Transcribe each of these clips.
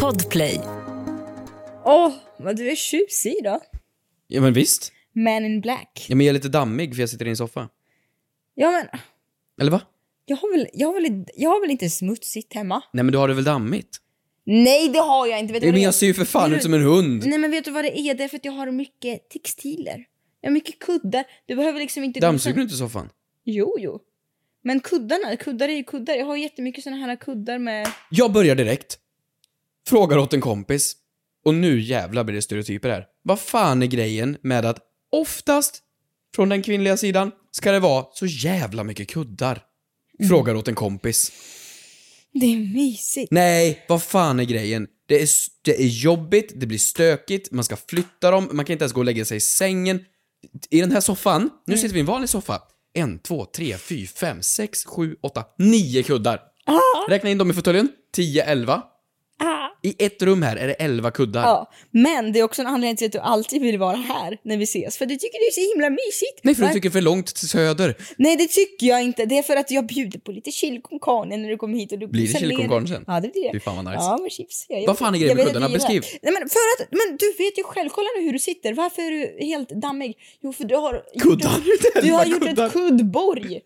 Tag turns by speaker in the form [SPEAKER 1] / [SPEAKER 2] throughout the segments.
[SPEAKER 1] Podplay.
[SPEAKER 2] Åh, vad du är tjusig idag.
[SPEAKER 3] Ja men visst.
[SPEAKER 2] Man in black.
[SPEAKER 3] Ja, men jag är lite dammig för jag sitter i en soffa.
[SPEAKER 2] Ja, men
[SPEAKER 3] Eller va?
[SPEAKER 2] jag har väl, jag har väl, jag har väl inte smutsigt hemma?
[SPEAKER 3] Nej men du har det väl dammigt?
[SPEAKER 2] Nej, det har jag inte. Vet du
[SPEAKER 3] Ja,
[SPEAKER 2] vad
[SPEAKER 3] men
[SPEAKER 2] det är?
[SPEAKER 3] jag ser ju för fan ut som en hund.
[SPEAKER 2] Nej, men vet du vad det är? Det är för att jag har mycket textiler. Jag har mycket kuddar. Du behöver liksom inte...
[SPEAKER 3] Dammsuger du inte soffan?
[SPEAKER 2] Jo, jo. Men kuddarna, kuddar är ju kuddar. Jag har jättemycket såna här kuddar med...
[SPEAKER 3] Jag börjar direkt. Frågar åt en kompis. Och nu jävlar blir det stereotyper här. Vad fan är grejen med att oftast, från den kvinnliga sidan, ska det vara så jävla mycket kuddar?
[SPEAKER 2] Mm.
[SPEAKER 3] Frågar åt en kompis.
[SPEAKER 2] Det är mysigt.
[SPEAKER 3] Nej, vad fan är grejen? Det är, det är jobbigt, det blir stökigt, man ska flytta dem, man kan inte ens gå och lägga sig i sängen. I den här soffan,
[SPEAKER 2] Mm.
[SPEAKER 3] nu sitter vi i en vanlig soffa. En, två, tre, fyra, fem, sex, sju, åtta, nio kuddar. Räkna in dem i fåtöljen. Tio, elva.
[SPEAKER 2] Ah.
[SPEAKER 3] I ett rum här är det elva kuddar.
[SPEAKER 2] Ja, men det är också en anledning till att du alltid vill vara här när vi ses. För du tycker det är så himla mysigt.
[SPEAKER 3] Nej, för
[SPEAKER 2] Va?
[SPEAKER 3] du tycker för långt till söder.
[SPEAKER 2] Nej, det tycker jag inte. Det är för att jag bjuder på lite chili con carne när du kommer hit. Och du
[SPEAKER 3] Blir det
[SPEAKER 2] sen
[SPEAKER 3] chili con
[SPEAKER 2] ler-
[SPEAKER 3] carne sen?
[SPEAKER 2] Ja, det blir det.
[SPEAKER 3] Fy fan vad nice.
[SPEAKER 2] Ja, med chips. Jag- jag
[SPEAKER 3] Vad fan är
[SPEAKER 2] vet-
[SPEAKER 3] grejen
[SPEAKER 2] jag
[SPEAKER 3] med
[SPEAKER 2] vet att
[SPEAKER 3] kuddarna?
[SPEAKER 2] du gillar det.
[SPEAKER 3] Beskriv.
[SPEAKER 2] Nej, men, för att, men du vet ju själv, kolla nu hur du sitter. Varför är du helt dammig? Jo, för du har...
[SPEAKER 3] Kuddar!
[SPEAKER 2] Du, du har gjort
[SPEAKER 3] Kuddar.
[SPEAKER 2] ett kuddborg.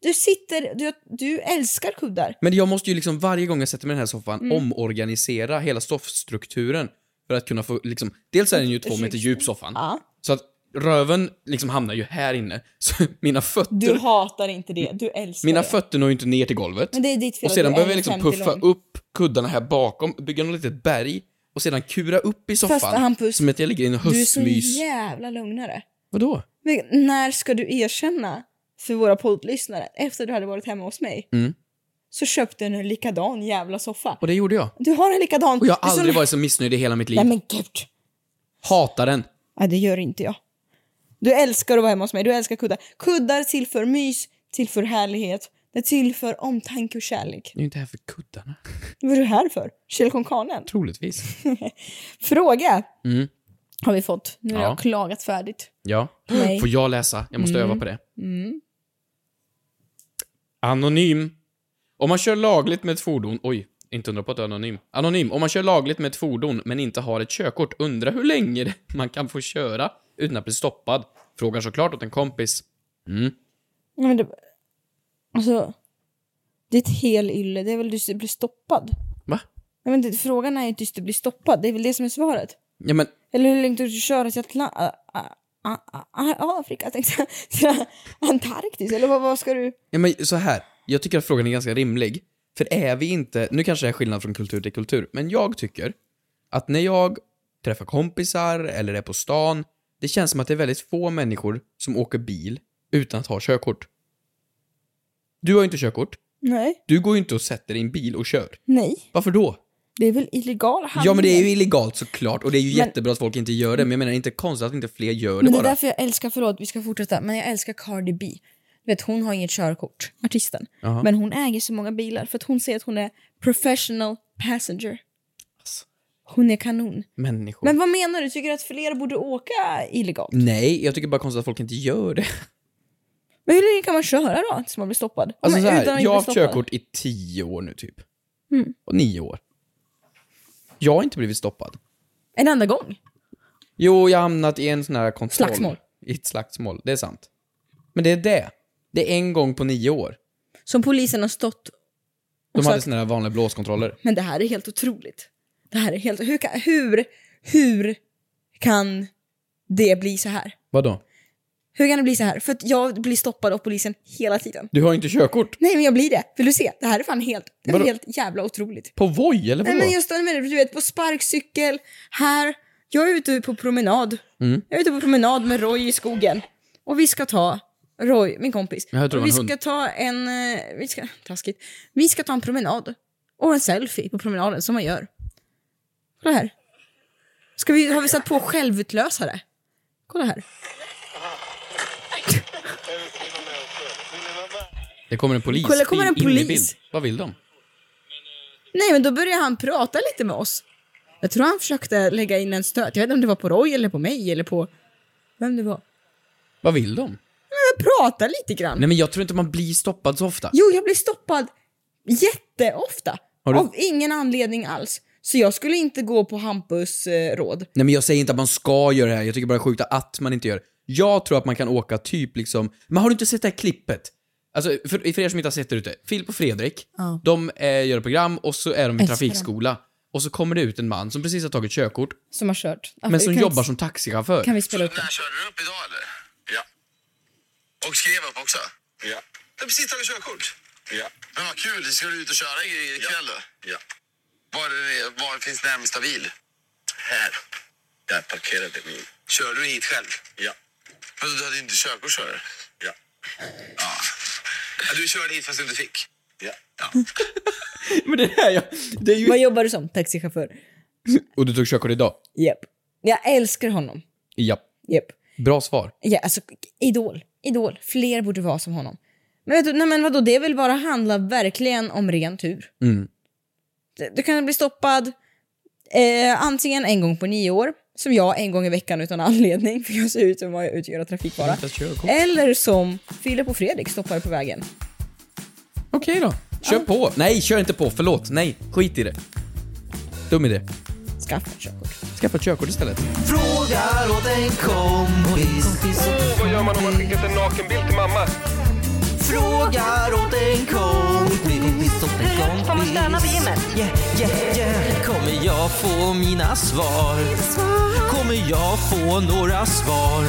[SPEAKER 2] Du sitter... Du, du älskar kuddar.
[SPEAKER 3] Men jag måste ju liksom varje gång jag sätter mig i den här soffan
[SPEAKER 2] Mm.
[SPEAKER 3] omorganisera hela stoffstrukturen för att kunna få liksom, dels är den ju två meter djup soffan,
[SPEAKER 2] Ja.
[SPEAKER 3] så att röven liksom hamnar ju här inne. Så mina
[SPEAKER 2] Du
[SPEAKER 3] fötter,
[SPEAKER 2] hatar inte det. Du älskar
[SPEAKER 3] mina
[SPEAKER 2] det.
[SPEAKER 3] fötter når ju inte ner till golvet.
[SPEAKER 2] Men det är ditt fel
[SPEAKER 3] Och
[SPEAKER 2] att
[SPEAKER 3] sedan
[SPEAKER 2] du
[SPEAKER 3] behöver
[SPEAKER 2] är
[SPEAKER 3] jag liksom
[SPEAKER 2] 50
[SPEAKER 3] puffa
[SPEAKER 2] lång.
[SPEAKER 3] upp kuddarna här bakom, bygga något litet berg och sedan kura upp i soffan.
[SPEAKER 2] Hampus,
[SPEAKER 3] som att jag ligger i en
[SPEAKER 2] Du är så
[SPEAKER 3] höstmys.
[SPEAKER 2] jävla lugnare.
[SPEAKER 3] Vadå?
[SPEAKER 2] Men när ska du erkänna för våra poddlyssnare, efter du hade varit hemma hos mig,
[SPEAKER 3] Mm.
[SPEAKER 2] så köpte du en likadan jävla soffa.
[SPEAKER 3] Och det gjorde jag.
[SPEAKER 2] Du har en likadan.
[SPEAKER 3] Och jag
[SPEAKER 2] Det
[SPEAKER 3] har
[SPEAKER 2] är så-
[SPEAKER 3] aldrig varit så missnöjd i hela mitt
[SPEAKER 2] Nej
[SPEAKER 3] liv.
[SPEAKER 2] men gud.
[SPEAKER 3] Hatar den.
[SPEAKER 2] Nej, det gör inte jag. Du älskar att vara hemma hos mig, du älskar kuddar. Kuddar tillför mys, tillför härlighet, det tillför omtanke och kärlek.
[SPEAKER 3] Jag är ju inte här för kuddarna.
[SPEAKER 2] Vad är du här för? Kjell con carnen?
[SPEAKER 3] Troligtvis.
[SPEAKER 2] Fråga
[SPEAKER 3] Mm.
[SPEAKER 2] har vi fått. Nu har
[SPEAKER 3] Ja.
[SPEAKER 2] jag klagat färdigt.
[SPEAKER 3] Ja.
[SPEAKER 2] Nej.
[SPEAKER 3] Får jag läsa? Jag måste öva på det. Anonym. Om man kör lagligt med ett fordon... Oj, inte undra på att du är anonym. Anonym. Om man kör lagligt med ett fordon men inte har ett körkort, undra hur länge det- man kan få köra utan att bli stoppad. Frågar såklart åt en kompis. Mm.
[SPEAKER 2] Nej, men det... Alltså, det är ett hel ylle. Det är väl du som blir stoppad?
[SPEAKER 3] Va?
[SPEAKER 2] Nej, men det, frågan är ju inte just du blir stoppad. Det är väl det som är svaret.
[SPEAKER 3] Ja, men
[SPEAKER 2] Eller hur länge du köra till Atlant... Afrika tänkte jag. Till Antarktis? Eller vad, vad ska du...
[SPEAKER 3] Ja, men så här. Jag tycker att frågan är ganska rimlig. För är vi inte, nu kanske det är skillnad från kultur till kultur, men jag tycker att när jag träffar kompisar eller är på stan, det känns som att det är väldigt få människor som åker bil utan att ha körkort. Du har ju inte körkort.
[SPEAKER 2] Nej.
[SPEAKER 3] Du går ju inte och sätter dig i en bil och kör.
[SPEAKER 2] Nej.
[SPEAKER 3] Varför då?
[SPEAKER 2] Det är väl illegal handel?
[SPEAKER 3] Ja, men det är ju illegalt såklart och det är ju
[SPEAKER 2] Men-
[SPEAKER 3] jättebra att folk inte gör det, men jag menar inte konstigt att inte fler gör det
[SPEAKER 2] Men det är
[SPEAKER 3] bara.
[SPEAKER 2] därför jag älskar, förlåt vi ska fortsätta, men jag älskar Cardi B. Du vet hon har inget körkort, artisten.
[SPEAKER 3] Jaha.
[SPEAKER 2] Men hon äger så många bilar för att hon säger att hon är professional passenger.
[SPEAKER 3] Alltså.
[SPEAKER 2] Hon är kanon.
[SPEAKER 3] Människor.
[SPEAKER 2] Men vad menar du? Tycker du att fler borde åka illegalt?
[SPEAKER 3] Nej, jag tycker bara konstigt att folk inte gör det.
[SPEAKER 2] Men hur länge kan man köra då tills man blir stoppad? Om
[SPEAKER 3] Alltså
[SPEAKER 2] man- utan
[SPEAKER 3] så
[SPEAKER 2] att
[SPEAKER 3] här, jag
[SPEAKER 2] bli
[SPEAKER 3] har haft
[SPEAKER 2] stoppad.
[SPEAKER 3] körkort i tio år nu typ.
[SPEAKER 2] Mm.
[SPEAKER 3] Och nio år. Jag har inte blivit stoppad.
[SPEAKER 2] En enda gång?
[SPEAKER 3] Jo, jag har hamnat i en sån här kontroll.
[SPEAKER 2] Slagsmål.
[SPEAKER 3] I ett slagsmål, det är sant. Men det är det. Det är en gång på nio år.
[SPEAKER 2] Som polisen har stått...
[SPEAKER 3] De
[SPEAKER 2] Och
[SPEAKER 3] hade
[SPEAKER 2] sagt-
[SPEAKER 3] såna här vanliga blåskontroller.
[SPEAKER 2] Men det här är helt otroligt. Det här är helt... Hur kan, hur, hur kan det bli så här?
[SPEAKER 3] Vadå?
[SPEAKER 2] Hur kan det bli så här? För att jag blir stoppad av polisen hela tiden.
[SPEAKER 3] Du har inte körkort?
[SPEAKER 2] Nej men jag blir det. Vill du se? Det här är fan helt, det är
[SPEAKER 3] Vadå?
[SPEAKER 2] helt jävla otroligt.
[SPEAKER 3] På Voi eller
[SPEAKER 2] Nej
[SPEAKER 3] vadå?
[SPEAKER 2] men jag står med dig, du vet på sparkcykel, här. Jag är ute på promenad.
[SPEAKER 3] Mm.
[SPEAKER 2] Jag är ute på promenad med Roy i skogen. Och vi ska ta, Roy, min kompis.
[SPEAKER 3] Men jag tror
[SPEAKER 2] och vi
[SPEAKER 3] det var en
[SPEAKER 2] ska ta en, eh, vi ska, taskigt. Vi ska ta en promenad. Och en selfie på promenaden som man gör. Kolla här. Ska vi, har vi satt på självutlösare? Kolla här.
[SPEAKER 3] Det kommer en polis.
[SPEAKER 2] Kolla, kommer en
[SPEAKER 3] in- in i bild.
[SPEAKER 2] polis.
[SPEAKER 3] Vad vill de?
[SPEAKER 2] Nej, men då började han prata lite med oss. Jag tror han försökte lägga in en stöt. Jag vet inte om det var på Roy eller på mig eller på vem det var.
[SPEAKER 3] Vad vill de?
[SPEAKER 2] Men prata lite grann.
[SPEAKER 3] Nej men jag tror inte man blir stoppad så ofta.
[SPEAKER 2] Jo, jag blir stoppad jätteofta.
[SPEAKER 3] Har du-
[SPEAKER 2] Av ingen anledning alls. Så jag skulle inte gå på Hampus eh, råd.
[SPEAKER 3] Nej men jag säger inte att man ska göra det här, jag tycker bara det är sjukt att man inte gör det. Jag tror att man kan åka typ liksom, men har du inte sett det här klippet? Alltså för, för er som inte har sett det ute, Filip och Fredrik,
[SPEAKER 2] Ja.
[SPEAKER 3] de eh, gör ett program och så är de i en
[SPEAKER 2] Älskar
[SPEAKER 3] trafikskola. Och så kommer det ut en man som precis har tagit körkort,
[SPEAKER 2] Som har kört. Ja,
[SPEAKER 3] men
[SPEAKER 2] vi
[SPEAKER 3] som
[SPEAKER 2] kan-
[SPEAKER 3] jobbar som taxichaufför.
[SPEAKER 2] Kan vi spela upp det?
[SPEAKER 1] här körde du upp idag eller? Ja. Och skrev upp också? Ja. Du har precis tagit körkort? Ja. Men vad kul, ska du ut och köra i- ikväll då? Ja. Var, är- var finns närmsta bil? Här. Där parkerade min. Körde du hit själv? Ja. Men du hade inte körkort sa du? Ja. ja. Du körde hit fast du inte fick? Ja. ja.
[SPEAKER 3] Men det här, jag, det är ju...
[SPEAKER 2] Vad jobbar du som? Taxichaufför?
[SPEAKER 3] Och du tog körkort idag?
[SPEAKER 2] Japp. Jag älskar honom.
[SPEAKER 3] Ja.
[SPEAKER 2] Japp.
[SPEAKER 3] Bra svar.
[SPEAKER 2] Ja, alltså, idol. Idol. Fler borde vara som honom. Men, vet du, nej, men vadå, det är väl bara handla verkligen om ren tur.
[SPEAKER 3] Mm.
[SPEAKER 2] Du- Du kan bli stoppad eh, antingen en gång på nio år, som jag en gång i veckan utan anledning, för jag ser ut som att jag utgör trafikfara.
[SPEAKER 3] Okej
[SPEAKER 2] Eller som Filip och Fredrik stoppar på vägen.
[SPEAKER 3] då. Kör på. Nej, kör inte på. Förlåt. Nej, skit i det. Dum idé.
[SPEAKER 2] Skaffa ett körkort.
[SPEAKER 3] Skaffa ett körkort istället.
[SPEAKER 4] Frågar åt en kompis.
[SPEAKER 5] Vad gör man om man skickat en nakenbild till mamma?
[SPEAKER 4] Frågar åt en kompis. Hur
[SPEAKER 6] får man stöna på gymmet?
[SPEAKER 4] Yeah, yeah, yeah. Kommer jag få mina svar? Kommer jag få några svar?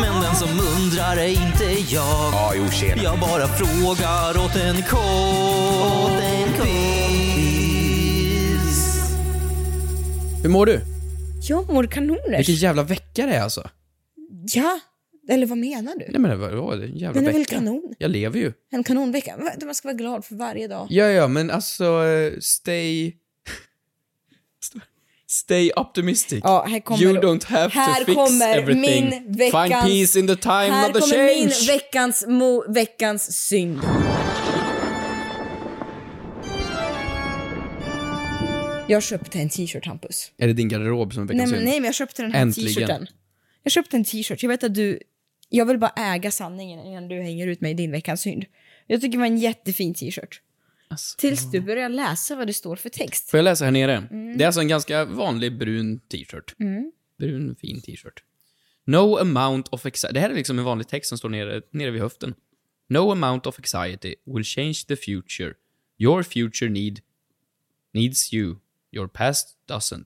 [SPEAKER 4] Men den som undrar är inte jag.
[SPEAKER 5] Ja, jo, tjena.
[SPEAKER 4] Jag bara frågar åt en kompis.
[SPEAKER 3] Hur mår du?
[SPEAKER 2] Jag mår kanoners.
[SPEAKER 3] Vilken jävla vecka det är alltså.
[SPEAKER 2] Ja, eller vad menar du?
[SPEAKER 3] Nej men vad var det? En jävla
[SPEAKER 2] Den är väl
[SPEAKER 3] vecka.
[SPEAKER 2] kanon?
[SPEAKER 3] Jag lever ju.
[SPEAKER 2] En kanonvecka. Va- Man ska vara glad för varje dag.
[SPEAKER 3] Ja, ja, men alltså, eh, stay... Stay optimistic.
[SPEAKER 2] Ja, här kommer då-
[SPEAKER 3] you don't have
[SPEAKER 2] Här
[SPEAKER 3] to fix
[SPEAKER 2] kommer
[SPEAKER 3] everything.
[SPEAKER 2] min veckans-
[SPEAKER 3] Find peace in the time
[SPEAKER 2] Här
[SPEAKER 3] of the
[SPEAKER 2] kommer
[SPEAKER 3] change.
[SPEAKER 2] min veckans, mo, veckans synd. Jag köpte en t-shirt, Hampus.
[SPEAKER 3] Är det din garderob som är
[SPEAKER 2] Nej
[SPEAKER 3] veckans
[SPEAKER 2] men,
[SPEAKER 3] synd?
[SPEAKER 2] nej, men jag köpte den här
[SPEAKER 3] Äntligen.
[SPEAKER 2] t-shirten. Jag köpte en t-shirt. Jag vet att du... Jag vill bara äga sanningen innan du hänger ut mig i din veckans synd. Jag tycker det var en jättefin t-shirt.
[SPEAKER 3] Alltså.
[SPEAKER 2] Tills du börjar läsa vad det står för text.
[SPEAKER 3] Får jag läsa här nere?
[SPEAKER 2] Mm.
[SPEAKER 3] Det är alltså en ganska vanlig brun t-shirt. Brun, fin t-shirt. No amount of anxiety. Det här är liksom en vanlig text som står nere, nere vid höften. No amount of anxiety will change the future. Your future need needs you. Your past doesn't.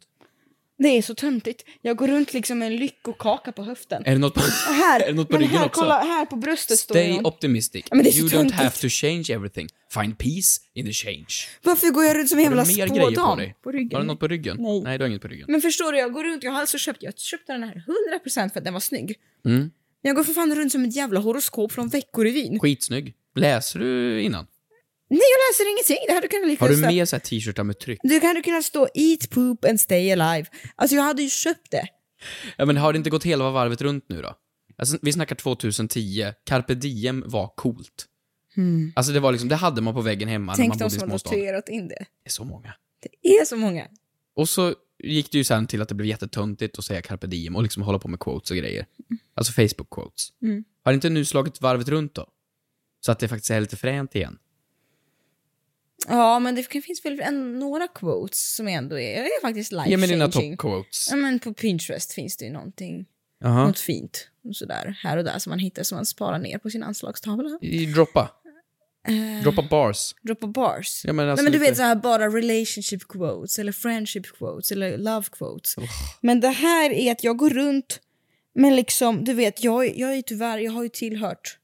[SPEAKER 2] Det är så töntigt. Jag går runt liksom med en lyckokaka på höften.
[SPEAKER 3] Är det något på,
[SPEAKER 2] Här,
[SPEAKER 3] är det något på
[SPEAKER 2] men
[SPEAKER 3] ryggen
[SPEAKER 2] här,
[SPEAKER 3] också?
[SPEAKER 2] kolla, här på bröstet står det
[SPEAKER 3] Stay
[SPEAKER 2] någon-
[SPEAKER 3] optimistic.
[SPEAKER 2] Ja, men det är så
[SPEAKER 3] you don't
[SPEAKER 2] töntigt.
[SPEAKER 3] have to change everything. Find peace in the change.
[SPEAKER 2] Varför går jag runt som en
[SPEAKER 3] Har
[SPEAKER 2] jävla
[SPEAKER 3] du mer grejer på
[SPEAKER 2] spådam?
[SPEAKER 3] dig?
[SPEAKER 2] På ryggen.
[SPEAKER 3] Har du något på ryggen?
[SPEAKER 2] Nej.
[SPEAKER 3] Nej, du har inget på ryggen.
[SPEAKER 2] Men förstår du, jag går runt, jag har alltså köpt, jag köpte den här 100% för att den var snygg.
[SPEAKER 3] Mm.
[SPEAKER 2] Men jag går för fan runt som ett jävla horoskop från Veckorevyn.
[SPEAKER 3] Skitsnygg. Läser du innan?
[SPEAKER 2] Nej, jag läser ingenting! Det hade kunnat lika
[SPEAKER 3] Har du
[SPEAKER 2] gärna stå-
[SPEAKER 3] med så här t-shirtar med tryck?
[SPEAKER 2] Du hade kunnat stå “Eat poop and stay alive”. Alltså jag hade ju köpt det.
[SPEAKER 3] Ja, men har det inte gått hela varvet runt nu då? Alltså, vi snackar 2010, carpe diem var coolt. Alltså det var liksom, det hade man på väggen hemma när
[SPEAKER 2] Tänk de
[SPEAKER 3] man bodde i
[SPEAKER 2] som har
[SPEAKER 3] småstaden. Det
[SPEAKER 2] tatuerat in det.
[SPEAKER 3] är så många.
[SPEAKER 2] Det är så många.
[SPEAKER 3] Och så gick det ju sen till att det blev jättetöntigt att säga carpe diem och liksom hålla på med quotes och grejer. Alltså Facebook-quotes.
[SPEAKER 2] Mm.
[SPEAKER 3] Har det inte nu slagit varvet runt då? Så att det faktiskt är lite fränt igen.
[SPEAKER 2] Ja, men det kan- finns väl en, några quotes som ändå är, är faktiskt life
[SPEAKER 3] Ge mig dina
[SPEAKER 2] changing. Mm.
[SPEAKER 3] top-quotes.
[SPEAKER 2] Ja, men på Pinterest finns det ju någonting,
[SPEAKER 3] Jaha.
[SPEAKER 2] något fint och sådär, här och där som man hittar som man sparar ner på sin anslagstavla.
[SPEAKER 3] I- Droppa.
[SPEAKER 2] Eh.
[SPEAKER 3] Droppa bars.
[SPEAKER 2] Droppa bars.
[SPEAKER 3] Ja, men alltså
[SPEAKER 2] Nej, men du
[SPEAKER 3] lite-
[SPEAKER 2] vet så här bara relationship quotes eller friendship quotes eller love quotes. Men det här är att jag går runt men liksom, du vet, jag, jag är ju tyvärr, jag har ju tillhört,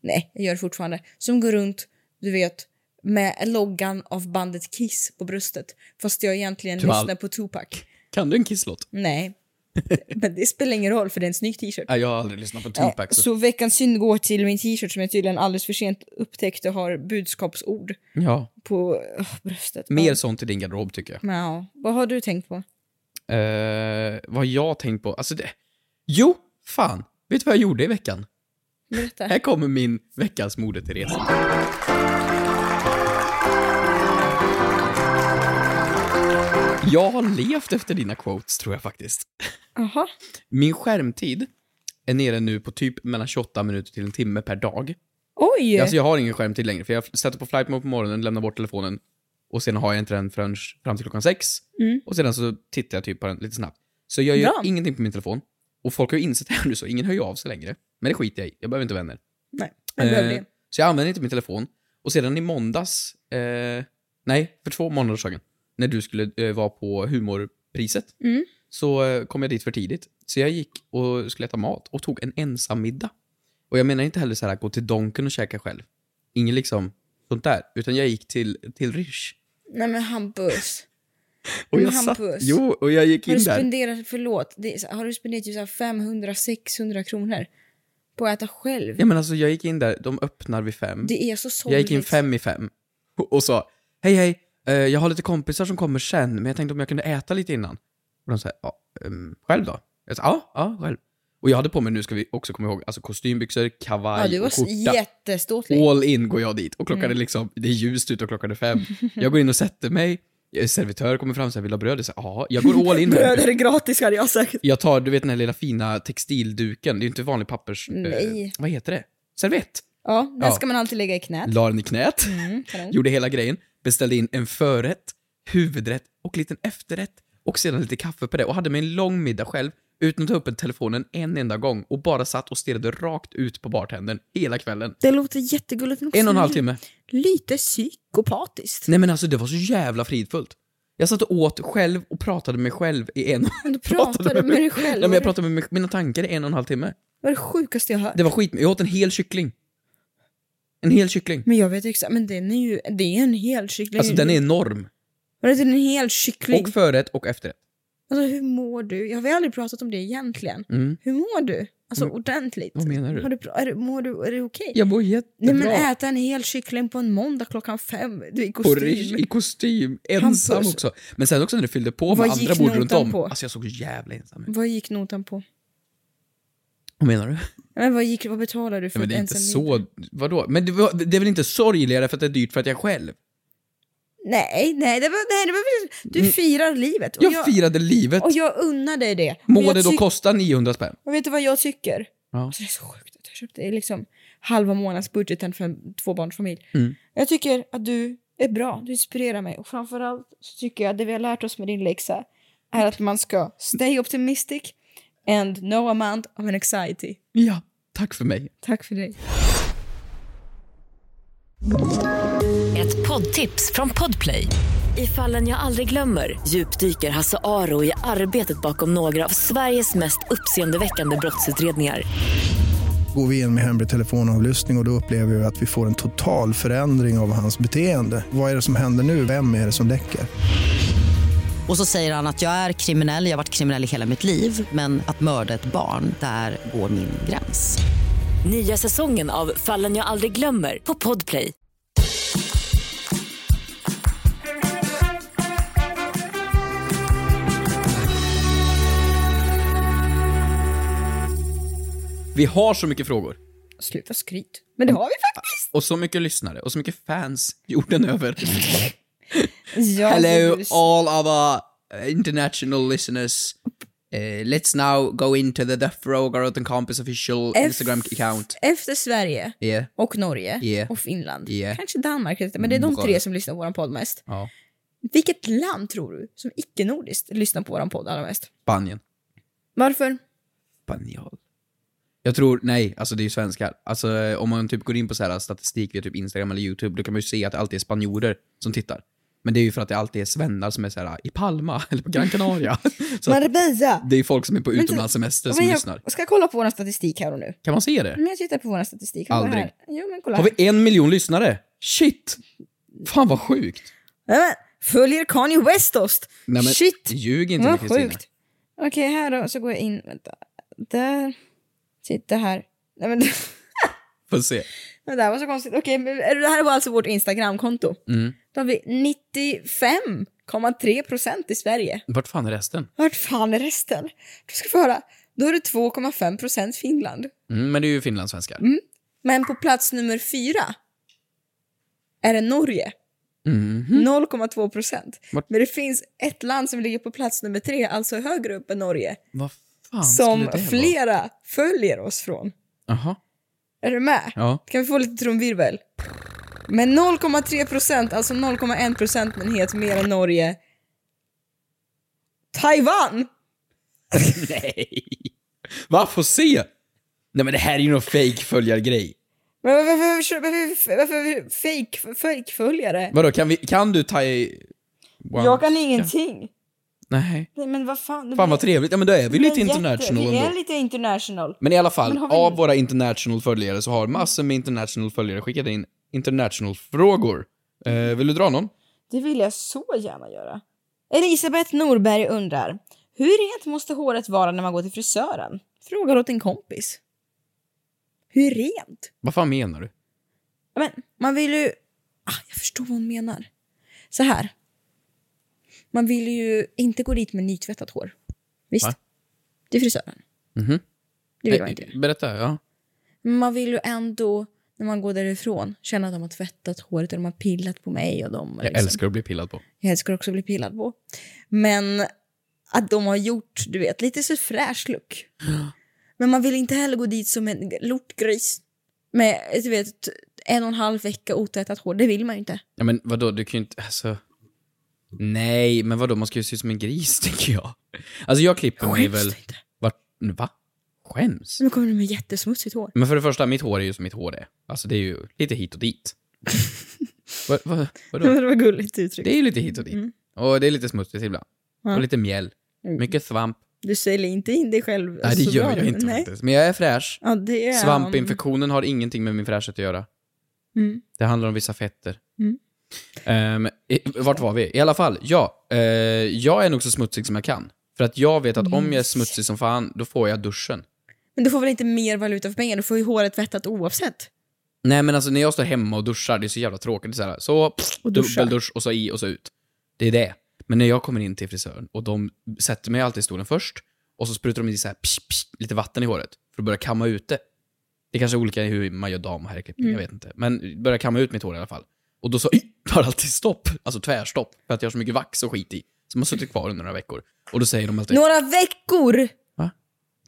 [SPEAKER 2] nej, jag gör det fortfarande, som går runt, du vet, med loggan av bandet Kiss på bröstet. Fast jag egentligen
[SPEAKER 3] Tyvärr.
[SPEAKER 2] lyssnar på Tupac.
[SPEAKER 3] Kan du en kisslåt?
[SPEAKER 2] Nej, men det spelar ingen roll för det är en snygg t-shirt.
[SPEAKER 3] Nej, jag har aldrig lyssnat på Tupac.
[SPEAKER 2] Ja,
[SPEAKER 3] så-
[SPEAKER 2] Eh, så veckans synd går till min t-shirt som jag tydligen alldeles för sent upptäckte har budskapsord
[SPEAKER 3] Ja.
[SPEAKER 2] på öh, bröstet. Ja.
[SPEAKER 3] Mer sånt i din garderob tycker jag.
[SPEAKER 2] Ja, vad har du tänkt på?
[SPEAKER 3] Eh, vad jag har tänkt på? Alltså det... Jo, fan. Vet du vad jag gjorde i veckan?
[SPEAKER 2] Berätta.
[SPEAKER 3] Här kommer min veckans mode Therese. Jag har levt efter dina quotes, tror jag faktiskt.
[SPEAKER 2] Jaha.
[SPEAKER 3] Min skärmtid är nere nu på typ mellan 28 minuter till en timme per dag.
[SPEAKER 2] Oj!
[SPEAKER 3] Alltså jag har ingen skärmtid längre, för jag sätter på flight mode på morgonen, lämnar bort telefonen, och sen har jag inte den förrän fram till klockan sex.
[SPEAKER 2] Mm.
[SPEAKER 3] Och sedan så tittar jag typ på den lite snabbt. Så jag gör
[SPEAKER 2] Bra.
[SPEAKER 3] ingenting på min telefon. Och folk har ju insett det här nu så ingen hör ju av sig längre. Men det skiter jag i, jag behöver inte vänner.
[SPEAKER 2] Nej, jag behöver
[SPEAKER 3] Eh,
[SPEAKER 2] det.
[SPEAKER 3] Så jag använder inte min telefon. Och sedan i måndags, eh, nej, för två månader sedan, när du skulle eh, vara på humorpriset,
[SPEAKER 2] Mm.
[SPEAKER 3] så eh, kom jag dit för tidigt. Så jag gick och skulle äta mat och tog en ensam middag. Och jag menar inte heller så här gå till Donken och käka själv. Ingen liksom sånt där. Utan jag gick till, till Rish.
[SPEAKER 2] Nej men Hampus.
[SPEAKER 3] Och
[SPEAKER 2] Men
[SPEAKER 3] jag satt,
[SPEAKER 2] Hampus,
[SPEAKER 3] jo, och jag gick
[SPEAKER 2] Har
[SPEAKER 3] in
[SPEAKER 2] du
[SPEAKER 3] där.
[SPEAKER 2] spenderat, förlåt, det är, så- har du spenderat typ så här 500-600 kronor på att äta själv?
[SPEAKER 3] Ja men alltså jag gick in där, de öppnar vid fem.
[SPEAKER 2] Det är så sorgligt.
[SPEAKER 3] Jag gick in fem i fem och och sa Hej hej, eh, jag har lite kompisar som kommer sen, men jag tänkte om jag kunde äta lite innan. Och de sa, ja, ehm, själv då? Jag sa, ja, ja, själv. Och jag hade på mig, nu ska vi också komma ihåg, alltså kostymbyxor,
[SPEAKER 2] Ja,
[SPEAKER 3] kavaj
[SPEAKER 2] du var Mm.
[SPEAKER 3] och
[SPEAKER 2] s-
[SPEAKER 3] skjorta.
[SPEAKER 2] jätteståtlig.
[SPEAKER 3] All in går jag dit. Och klockan är liksom, det är ljust ute och klockan är fem. Jag går in och sätter mig, Eh, servitör kommer fram och säger, vill du ha bröd? Jag säger, ja, jag går all in med
[SPEAKER 2] Bröd är gratis hade jag säkert.
[SPEAKER 3] jag tar, du vet den här lilla fina textilduken, det är ju inte vanlig pappers... eh,
[SPEAKER 2] Nej.
[SPEAKER 3] vad heter det? Servett!
[SPEAKER 2] Ja, den
[SPEAKER 3] Ja.
[SPEAKER 2] ska man alltid lägga i knät.
[SPEAKER 3] La den i knät, gjorde hela grejen, beställde in en förrätt, huvudrätt och liten efterrätt och sedan lite kaffe på det och hade mig en lång middag själv utan att ta upp en telefonen en enda gång och bara satt och stirrade rakt ut på bartendern hela kvällen.
[SPEAKER 2] Det låter jättegulligt. men också
[SPEAKER 3] En och en halv
[SPEAKER 2] li-
[SPEAKER 3] timme.
[SPEAKER 2] Lite psykopatiskt.
[SPEAKER 3] Nej men alltså det var så jävla fridfullt. Jag satt och åt själv och pratade med mig själv i en
[SPEAKER 2] Men Du pratade med dig
[SPEAKER 3] Nej
[SPEAKER 2] själv.
[SPEAKER 3] men jag pratade med mig- mina tankar i en och en halv timme.
[SPEAKER 2] Det var det sjukaste jag hört.
[SPEAKER 3] Det var skit. Jag åt en hel kyckling. En hel kyckling.
[SPEAKER 2] Men jag vet exakt, men den är ju, det är en hel kyckling.
[SPEAKER 3] Alltså den är enorm.
[SPEAKER 2] Var det en hel kyckling?
[SPEAKER 3] Och förrätt och efterrätt.
[SPEAKER 2] Alltså hur mår du? Jag har väl aldrig pratat om det egentligen.
[SPEAKER 3] Mm.
[SPEAKER 2] Hur mår du? Alltså
[SPEAKER 3] Mm.
[SPEAKER 2] ordentligt.
[SPEAKER 3] Vad menar du?
[SPEAKER 2] Har du, pra- är, du- mår du, är du okej?
[SPEAKER 3] Jag mår
[SPEAKER 2] Nej
[SPEAKER 3] jättebra.
[SPEAKER 2] men äta en hel kyckling på en måndag klockan fem. Du är i
[SPEAKER 3] och
[SPEAKER 2] kostym.
[SPEAKER 3] ri- i kostym, ensam
[SPEAKER 2] Hampus.
[SPEAKER 3] också. Men sen också när det fyllde på
[SPEAKER 2] Vad
[SPEAKER 3] med
[SPEAKER 2] gick
[SPEAKER 3] andra bord runt
[SPEAKER 2] notan
[SPEAKER 3] om.
[SPEAKER 2] på?
[SPEAKER 3] Alltså jag såg jävla ensam ut.
[SPEAKER 2] Vad gick notan på?
[SPEAKER 3] Vad menar du?
[SPEAKER 2] Ja, Men vad, gick, vad betalar du för
[SPEAKER 3] Ja, men det är inte
[SPEAKER 2] ensam middag?
[SPEAKER 3] så... Vadå? Men det, var, det är väl inte sorgligare för att det är dyrt för att jag är själv?
[SPEAKER 2] Nej, nej, det var, nej det var, du firar livet. Och
[SPEAKER 3] Mm. Jag, firade livet.
[SPEAKER 2] Och jag unnar dig det. Och
[SPEAKER 3] Må
[SPEAKER 2] jag
[SPEAKER 3] det då
[SPEAKER 2] tyck-
[SPEAKER 3] kosta 900 spänn?
[SPEAKER 2] Och vet du vad jag tycker?
[SPEAKER 3] Ja.
[SPEAKER 2] Alltså, det är så sjukt att jag köpte liksom halva månadsbudgeten för en tvåbarnsfamilj.
[SPEAKER 3] Mm.
[SPEAKER 2] Jag tycker att du är bra, du inspirerar mig. Och framförallt så tycker jag att det vi har lärt oss med din läxa är att man ska stay optimistic and no amount of an anxiety.
[SPEAKER 3] Ja, tack för mig.
[SPEAKER 2] Tack för dig.
[SPEAKER 6] Ett poddtips från Podplay. I fallen jag aldrig glömmer djupdyker Hasse Aro i arbetet bakom några av Sveriges mest uppseendeväckande brottsutredningar.
[SPEAKER 7] Går vi in med hemlig telefonavlyssning och, och då upplever vi att vi får en total förändring av hans beteende. Vad är det som händer nu? Vem är det som läcker?
[SPEAKER 8] Och så säger han att jag är kriminell, jag har varit kriminell i hela mitt liv men att mörda ett barn, där går min gräns.
[SPEAKER 6] Nya säsongen av Fallen jag aldrig glömmer på Podplay.
[SPEAKER 3] Vi har så mycket frågor.
[SPEAKER 2] Sluta skryt. Men det har vi faktiskt.
[SPEAKER 3] Och så mycket lyssnare. Och så mycket fans jorden över.
[SPEAKER 2] Ja,
[SPEAKER 3] Hello,
[SPEAKER 2] du-
[SPEAKER 3] all other uh, international listeners. Uh, let's now go into the Death Row Garot and Campus official
[SPEAKER 2] F-
[SPEAKER 3] Instagram account.
[SPEAKER 2] Efter Sverige
[SPEAKER 3] Yeah.
[SPEAKER 2] och Norge
[SPEAKER 3] Yeah.
[SPEAKER 2] och Finland.
[SPEAKER 3] Yeah.
[SPEAKER 2] Kanske Danmark, men det är de
[SPEAKER 3] Mm,
[SPEAKER 2] tre som lyssnar på vår podd mest.
[SPEAKER 3] Ja.
[SPEAKER 2] Vilket land tror du som icke-nordiskt lyssnar på vår podd allra mest?
[SPEAKER 3] Spanien.
[SPEAKER 2] Varför?
[SPEAKER 3] Spanjol. Jag tror, nej, alltså det är ju svenskar. Alltså eh, om man typ går in på så här statistik via typ Instagram eller YouTube, då kan man ju se att det alltid är spanjorer som tittar. Men det är ju för att det alltid är svennar som är så här i Palma eller på Gran Canaria. så att
[SPEAKER 2] Marbella!
[SPEAKER 3] det är ju folk som är på
[SPEAKER 2] Men-
[SPEAKER 3] utomlandssemester som
[SPEAKER 2] Men
[SPEAKER 3] lyssnar.
[SPEAKER 2] jag ska kolla på vår statistik här och nu.
[SPEAKER 3] Kan man se det?
[SPEAKER 2] Men jag tittar på vår statistik. Kolla
[SPEAKER 3] Aldrig.
[SPEAKER 2] Här. Jo, men kolla.
[SPEAKER 3] Har vi en miljon lyssnare? Shit! Fan vad sjukt.
[SPEAKER 2] här. Nämen, följer Kanye West oss?
[SPEAKER 3] Nej, men
[SPEAKER 2] Shit!
[SPEAKER 3] Ljug inte
[SPEAKER 2] Vad
[SPEAKER 3] med Kristina.
[SPEAKER 2] sjukt. Okej, här då. Så går jag in. Vänta. Där. Titta här. Nej, men,
[SPEAKER 3] Får se.
[SPEAKER 2] det där var så konstigt. Okej, men det här var alltså vårt Instagramkonto.
[SPEAKER 3] Mm.
[SPEAKER 2] Då har vi 95,3 procent i Sverige.
[SPEAKER 3] Vart fan är resten?
[SPEAKER 2] Vart fan är resten? Du ska få höra. Då är det 2,5 procent Finland.
[SPEAKER 3] Mm, men det är ju finlandssvenskar.
[SPEAKER 2] Men på plats nummer fyra är det Norge.
[SPEAKER 3] Mhm.
[SPEAKER 2] 0,2 procent.
[SPEAKER 3] Vart-
[SPEAKER 2] Men det finns ett land som ligger på plats nummer tre, alltså högre upp än Norge,
[SPEAKER 3] Vad fan
[SPEAKER 2] som
[SPEAKER 3] skulle det vara?
[SPEAKER 2] flera följer oss från.
[SPEAKER 3] Jaha.
[SPEAKER 2] Är du med?
[SPEAKER 3] Ja.
[SPEAKER 2] Kan vi få lite trumvirvel? Men 0,3 procent, alltså 0,1 procentenhet mer än Norge. Taiwan!
[SPEAKER 3] Nej! Va, får se? Nej men det här är ju någon fake följargrej.
[SPEAKER 2] Men varför, varför, varför, varför fake, fake följare?
[SPEAKER 3] Vadå, kan, vi, kan du Taiwan?
[SPEAKER 2] Jag kan ingenting.
[SPEAKER 3] Nej.
[SPEAKER 2] Nej, men vad fan.
[SPEAKER 3] Fan vad trevligt. Ja men då är vi lite
[SPEAKER 2] Men jätte-
[SPEAKER 3] international
[SPEAKER 2] Vi är
[SPEAKER 3] ändå.
[SPEAKER 2] lite international.
[SPEAKER 3] Men i alla fall,
[SPEAKER 2] Men har vi-
[SPEAKER 3] av våra international följare så har massor med international följare skickat in international frågor. Eh, vill du dra någon?
[SPEAKER 2] Det vill jag så gärna göra. Elisabeth Norberg undrar. Hur rent måste håret vara när man går till frisören? Frågar åt en kompis. Hur rent?
[SPEAKER 3] Vad fan menar du?
[SPEAKER 2] Ja, Men man vill ju... Ah, jag förstår vad hon menar. Så här. Man vill ju inte gå dit med nytvättat hår. Visst?
[SPEAKER 3] Va?
[SPEAKER 2] Till frisören.
[SPEAKER 3] Mhm. eh.
[SPEAKER 2] Det vill man inte.
[SPEAKER 3] Berätta, ja.
[SPEAKER 2] Men man vill ju ändå, när man går därifrån, känna att de har tvättat håret och de har pillat på mig. Och de, liksom.
[SPEAKER 3] Jag älskar att bli pillad på.
[SPEAKER 2] jag älskar också att bli pillad på. Men att de har gjort, du vet, lite så fräsch look. Men man vill inte heller gå dit som en lortgris. Med, du vet, en och en halv vecka otvättat hår. Det vill man ju inte.
[SPEAKER 3] Ja men vadå, du kan ju inte, alltså... Nej, men vadå, man ska ju se ut som en gris, tänker jag. Alltså jag klipper mig
[SPEAKER 2] Skäms
[SPEAKER 3] väl...
[SPEAKER 2] du inte?
[SPEAKER 3] Vart, va? Skäms?
[SPEAKER 2] Nu kommer du med jättesmutsigt hår.
[SPEAKER 3] Men för det första, mitt hår är ju som mitt hår är. Alltså det är ju lite hit och dit. va, va, vadå?
[SPEAKER 2] det var gulligt uttryck.
[SPEAKER 3] Det är ju lite hit och dit. Och det är lite smutsigt ibland.
[SPEAKER 2] Mm. Ja.
[SPEAKER 3] Och lite mjäll. Mycket svamp.
[SPEAKER 2] Du säljer inte in dig själv.
[SPEAKER 3] Nej, det
[SPEAKER 2] så
[SPEAKER 3] gör
[SPEAKER 2] bra
[SPEAKER 3] jag
[SPEAKER 2] nu.
[SPEAKER 3] inte
[SPEAKER 2] Nej.
[SPEAKER 3] faktiskt. Men jag är fräsch.
[SPEAKER 2] Ja, det är
[SPEAKER 3] Svampinfektionen har ingenting med min fräschhet att göra.
[SPEAKER 2] Mm.
[SPEAKER 3] Det handlar om vissa fetter.
[SPEAKER 2] Mm.
[SPEAKER 3] Ehm, i, vart var vi? I alla fall, ja. eh, jag är nog så smutsig som jag kan. För att jag vet att om jag är smutsig som fan, då får jag duschen.
[SPEAKER 2] Men du får väl inte mer valuta för pengar? Du får ju håret tvättat oavsett.
[SPEAKER 3] Nej men alltså när jag står hemma och duschar, det är så jävla tråkigt. Det är så, här, så pff,
[SPEAKER 2] Och duscha.
[SPEAKER 3] dubbeldusch och så i och så ut. Det är det. Men när jag kommer in till frisören och de sätter mig alltid i stolen först och så sprutar de i så här, psh, psh, lite vatten i håret för att börja kamma ut det. Det kanske är olika i hur man gör dam och herrklippning, jag vet inte. Men börja kamma ut mitt hår i alla fall. Och då så "Ih!" tar det alltid stopp, alltså tvärstopp, för att jag har så mycket vax och skit i. Som har suttit kvar under några veckor. Och då säger de alltid...
[SPEAKER 2] Några veckor!
[SPEAKER 3] Va?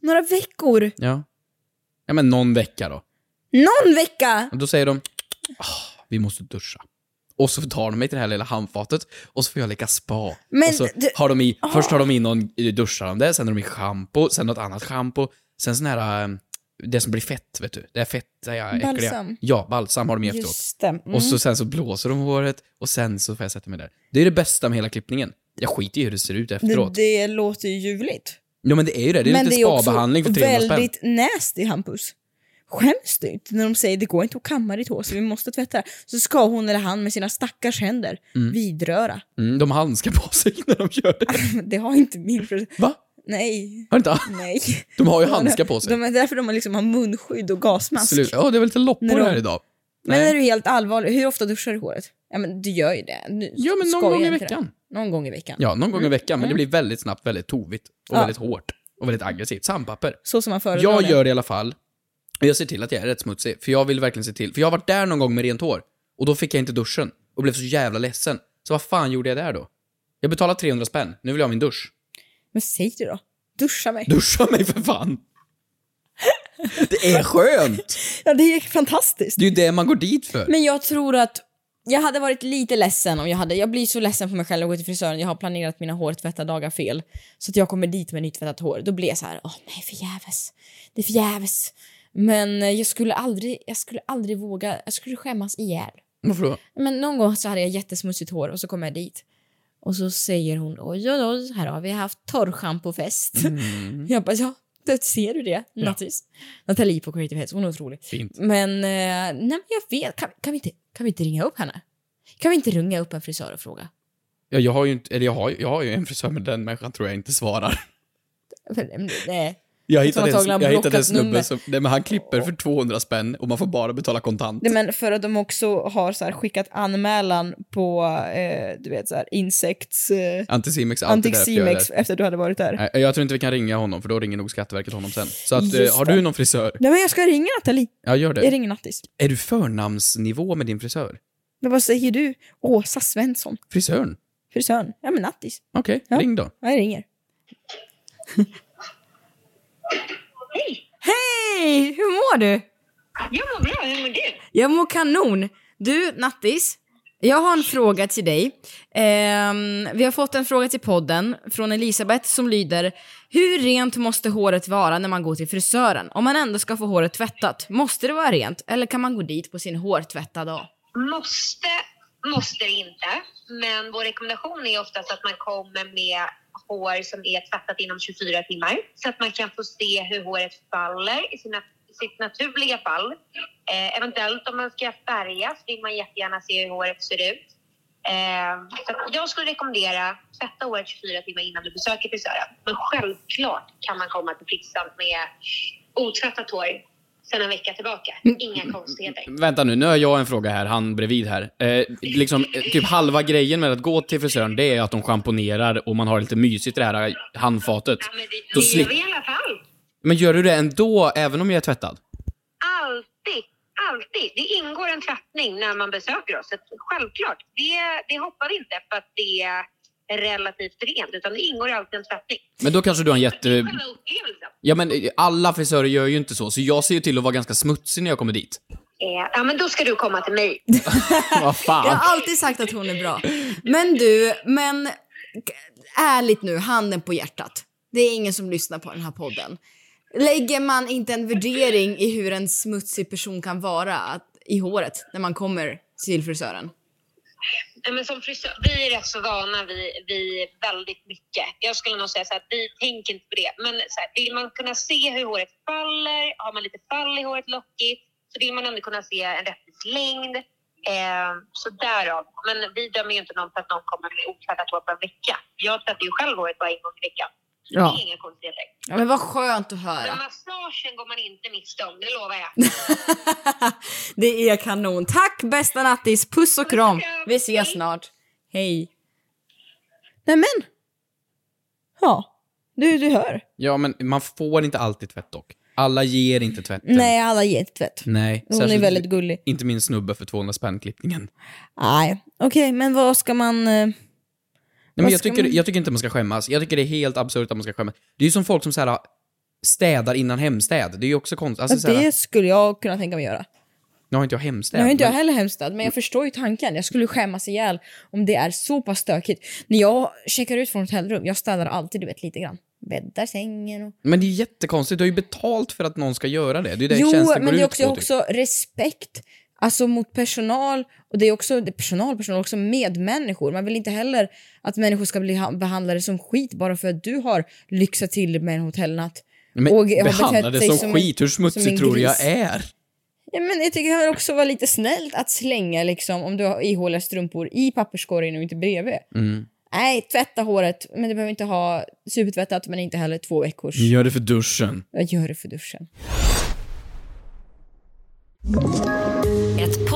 [SPEAKER 2] Några veckor!
[SPEAKER 3] Ja. Ja men någon vecka då.
[SPEAKER 2] Någon vecka!
[SPEAKER 3] Och då säger de "Ah, vi måste duscha. Och så tar de mig till det här lilla handfatet och så får jag leka spa.
[SPEAKER 2] Men
[SPEAKER 3] och så
[SPEAKER 2] du- Ah.
[SPEAKER 3] har de i, Först har de in någon duschande, sen har de i schampo, sen något annat schampo, sen sån här, eh, det som blir fett vet du. Det är fett, det är äckliga.
[SPEAKER 2] Balsam.
[SPEAKER 3] Ja, balsam har de i efteråt.
[SPEAKER 2] Just det. Mm.
[SPEAKER 3] Och så, sen så blåser de håret och sen så får jag sätta mig där. Det är det bästa med hela klippningen. Jag skiter i hur det ser ut
[SPEAKER 2] det,
[SPEAKER 3] efteråt.
[SPEAKER 2] det låter ju ljuvligt.
[SPEAKER 3] Ja men det är ju det, det är
[SPEAKER 2] Men
[SPEAKER 3] lite
[SPEAKER 2] det är också
[SPEAKER 3] spabehandling för 300 spänn.
[SPEAKER 2] väldigt nasty, Hampus. Skäms du inte när de säger det går inte att kamma ditt hår så vi måste tvätta det? Så ska hon eller han med sina stackars händer vidröra.
[SPEAKER 3] Mm, de har handskar på sig när de gör det.
[SPEAKER 2] Det har inte min fru...
[SPEAKER 3] Va?
[SPEAKER 2] Nej.
[SPEAKER 3] Har inte?
[SPEAKER 2] Nej.
[SPEAKER 3] De har ju handskar på sig.
[SPEAKER 2] De är därför de har liksom har munskydd och gasmask.
[SPEAKER 3] Absolut. Ja, det var lite
[SPEAKER 2] När
[SPEAKER 3] loppor
[SPEAKER 2] de-
[SPEAKER 3] här idag.
[SPEAKER 2] Men
[SPEAKER 3] Nej.
[SPEAKER 2] är du helt allvarlig, hur ofta duschar du håret? Ja men du gör ju det. Du
[SPEAKER 3] Ja, men
[SPEAKER 2] skojar
[SPEAKER 3] någon gång i
[SPEAKER 2] inte
[SPEAKER 3] veckan.
[SPEAKER 2] Det. Någon gång i veckan.
[SPEAKER 3] Ja, någon gång i veckan, men det blir väldigt snabbt väldigt tovigt och
[SPEAKER 2] Mm. Ja.
[SPEAKER 3] väldigt hårt och väldigt aggressivt. Sandpapper.
[SPEAKER 2] Så som man föredrar
[SPEAKER 3] Jag
[SPEAKER 2] det.
[SPEAKER 3] gör det i alla fall. Och Jag ser till att jag är rätt smutsig, för jag vill verkligen se till. För jag har varit där någon gång med rent hår och då fick jag inte duschen och blev så jävla ledsen. Så vad fan gjorde jag där då? Jag betalade 300 spänn, nu vill jag ha min dusch.
[SPEAKER 2] Men säg det då. Duscha mig.
[SPEAKER 3] Duscha mig för fan! Det är skönt!
[SPEAKER 2] Ja det är fantastiskt.
[SPEAKER 3] Det är ju det man går dit för.
[SPEAKER 2] Men jag tror att jag hade varit lite ledsen om jag hade, jag blir så ledsen på mig själv när jag går till frisören, jag har planerat mina hårtvättardagar fel. Så att jag kommer dit med nytvättat hår. Då blir jag så här, åh nej förgäves. Det är förgäves. Men eh, jag skulle aldrig, jag skulle aldrig våga, jag skulle skämmas ihjäl.
[SPEAKER 3] Varför då?
[SPEAKER 2] Men någon gång så hade jag jättesmutsigt hår och så kom jag dit. Och så säger hon oj oj oj, här har vi haft torrschampofest. Jag bara ja, det ser du det? Nattis. Nathalie på Creative Heads, hon är otrolig.
[SPEAKER 3] Fint.
[SPEAKER 2] Men, eh, nej men jag vet, kan, kan, vi inte, kan vi inte ringa upp henne? Kan vi inte ringa upp en frisör och fråga?
[SPEAKER 3] Ja, jag har ju inte, eller jag har, ju- jag har ju en frisör, men den människan tror jag inte svarar.
[SPEAKER 2] Men, eh, Nej.
[SPEAKER 3] Jag
[SPEAKER 2] Jag tror
[SPEAKER 3] hittade, en,
[SPEAKER 2] antagligen han
[SPEAKER 3] jag hittade en
[SPEAKER 2] blockat nummer.
[SPEAKER 3] snubbe som, nej, men han klipper för 200 spänn och man får bara betala kontant.
[SPEAKER 2] Nej, men för att de också har så här, skickat anmälan på eh, du vet så här, insekts... Eh,
[SPEAKER 3] Anticimex, allt det där jag gör
[SPEAKER 2] Anticimex
[SPEAKER 3] där.
[SPEAKER 2] efter du hade varit där.
[SPEAKER 3] Nej, Jag tror inte vi kan ringa honom för då ringer nog Skatteverket honom sen. Så att, eh,
[SPEAKER 2] Just
[SPEAKER 3] har
[SPEAKER 2] det.
[SPEAKER 3] du någon frisör?
[SPEAKER 2] Nej men jag ska ringa Nathalie.
[SPEAKER 3] Ja, gör
[SPEAKER 2] Jag
[SPEAKER 3] det.
[SPEAKER 2] ringer Nattis.
[SPEAKER 3] Är du förnamnsnivå med din frisör?
[SPEAKER 2] Men vad säger du? Åsa Svensson,
[SPEAKER 3] Frisören?
[SPEAKER 2] frisören. Ja men nattis.
[SPEAKER 3] Okej,
[SPEAKER 2] Ja.
[SPEAKER 3] ring då.
[SPEAKER 2] Ja, jag ringer. Hej! Hej! Hur mår du?
[SPEAKER 9] Jag mår bra, hur mår du?
[SPEAKER 2] Jag mår kanon.
[SPEAKER 9] Du, Nattis, jag har en fråga till dig. Ehm, vi har fått en fråga till podden från Elisabeth som lyder Hur rent måste håret vara när man går till frisören? Om man ändå ska få håret tvättat, måste det vara rent eller kan man gå dit på sin hårtvättade dag?
[SPEAKER 10] Måste, måste det inte. Men vår rekommendation är oftast att man kommer med hår som är tvättat inom 24 timmar så att man kan få se hur håret faller i sina, sitt naturliga fall. Eh, eventuellt om man ska färgas vill man jättegärna se hur håret ser ut. Eh, så att jag skulle rekommendera tvätta håret 24 timmar innan du besöker frisören. Men självklart kan man komma till frissan med otvättat hår sedan en vecka tillbaka. Inga konstigheter.
[SPEAKER 11] Vänta nu, nu har jag en fråga här, han bredvid här. Eh, liksom, eh, typ halva grejen med att gå till frisören, det är att de schamponerar och man har lite mysigt i det här handfatet. Då
[SPEAKER 10] Det gör
[SPEAKER 11] slip-
[SPEAKER 10] vi i alla fall.
[SPEAKER 11] men gör du det ändå, även om jag är tvättad?
[SPEAKER 10] Alltid, alltid. Det ingår en tvättning när man besöker oss. Så att Självklart. Det, det hoppar vi inte för att det är relativt rent, utan det ingår alltid en tvättning.
[SPEAKER 11] Men då kanske du har en jätte...
[SPEAKER 10] Själva upplevelsen.
[SPEAKER 11] Ja men eh, alla frisörer gör ju inte så, så jag ser ju till att vara ganska smutsig när jag kommer dit.
[SPEAKER 10] Eh, ja, men då ska du komma till mig.
[SPEAKER 11] Vad
[SPEAKER 9] Jag
[SPEAKER 11] fan.
[SPEAKER 9] har alltid sagt att hon är bra. Men du, men k- ärligt nu, handen på hjärtat. Det är ingen som lyssnar på den här podden. Lägger man inte en värdering i hur en smutsig person kan vara att, i håret när man kommer till frisören?
[SPEAKER 10] Nej, men som frisör, vi är rätt så vana vid, vid väldigt mycket. Jag skulle nog säga så här, att vi tänker inte på det. Men så här, vill man kunna se hur håret faller, har man lite fall i håret lockigt, så vill man ändå kunna se en rättvis längd. Eh, så därav. Men vi dömer ju inte någon för att någon kommer med otvättat hår på en vecka. Jag tvättar ju själv håret bara en gång i veckan.
[SPEAKER 9] Ja.
[SPEAKER 10] Det är inga konstigheter.
[SPEAKER 9] Ja, men vad skönt att
[SPEAKER 10] Men
[SPEAKER 9] höra.
[SPEAKER 10] massagen går man inte miste om, det lovar jag.
[SPEAKER 9] Det är kanon. Tack bästa nattis, puss och kram. Vi ses snart. Hej.
[SPEAKER 2] Nej men. Ja, du, du hör.
[SPEAKER 3] Ja, men man får inte alltid tvätt dock. Alla ger inte tvätten.
[SPEAKER 2] Nej, alla ger inte tvätt.
[SPEAKER 3] Nej.
[SPEAKER 2] Hon är
[SPEAKER 3] särskilt
[SPEAKER 2] väldigt gullig.
[SPEAKER 3] Inte min snubbe för 200 spänn klippningen.
[SPEAKER 2] Nej, okej, men vad ska man... eh,
[SPEAKER 3] Nej,
[SPEAKER 2] Vad
[SPEAKER 3] men jag,
[SPEAKER 2] ska
[SPEAKER 3] tycker,
[SPEAKER 2] man-
[SPEAKER 3] jag tycker inte man ska skämmas. Jag tycker det är helt absurt att man ska skämmas. Det är ju som folk som så här, städar innan hemstäd. Det är ju också konstigt. Alltså, så här,
[SPEAKER 2] det skulle jag kunna tänka mig göra.
[SPEAKER 3] Nu har inte jag hemstäd.
[SPEAKER 2] Nu har inte jag
[SPEAKER 3] men-
[SPEAKER 2] heller hemstad,
[SPEAKER 3] Mm.
[SPEAKER 2] men jag förstår ju tanken. Jag skulle skämmas ihjäl om det är så pass stökigt. När jag checkar ut från hotellrum, jag städar alltid du vet, lite grann. Bäddar sängen och...
[SPEAKER 3] Men det är jättekonstigt. Du har ju betalt för att någon ska göra det. Det är ju det
[SPEAKER 2] Jo,
[SPEAKER 3] tjänsten går
[SPEAKER 2] men det är
[SPEAKER 3] ut
[SPEAKER 2] också,
[SPEAKER 3] på,
[SPEAKER 2] jag har
[SPEAKER 3] typ.
[SPEAKER 2] också respekt alltså mot personal. Och det är också det är personal, personal, också medmänniskor. Man vill inte heller att människor ska bli ha- behandlade som skit bara för att du har lyxat till med en hotellnatt.
[SPEAKER 3] Men
[SPEAKER 2] och har
[SPEAKER 3] behandla
[SPEAKER 2] betett
[SPEAKER 3] det
[SPEAKER 2] sig
[SPEAKER 3] som,
[SPEAKER 2] som en-
[SPEAKER 3] skit. Hur
[SPEAKER 2] som
[SPEAKER 3] smutsig
[SPEAKER 2] en
[SPEAKER 3] tror du jag
[SPEAKER 2] gris.
[SPEAKER 3] är?
[SPEAKER 2] Ja, men jag tycker det kan också vara lite snällt att slänga liksom, om du har ihåliga strumpor i papperskorgen och inte bredvid. Nej, tvätta håret, men du behöver inte ha supertvättat men inte heller två veckors.
[SPEAKER 3] Gör det för duschen.
[SPEAKER 2] Jag gör det för duschen.
[SPEAKER 6] Ett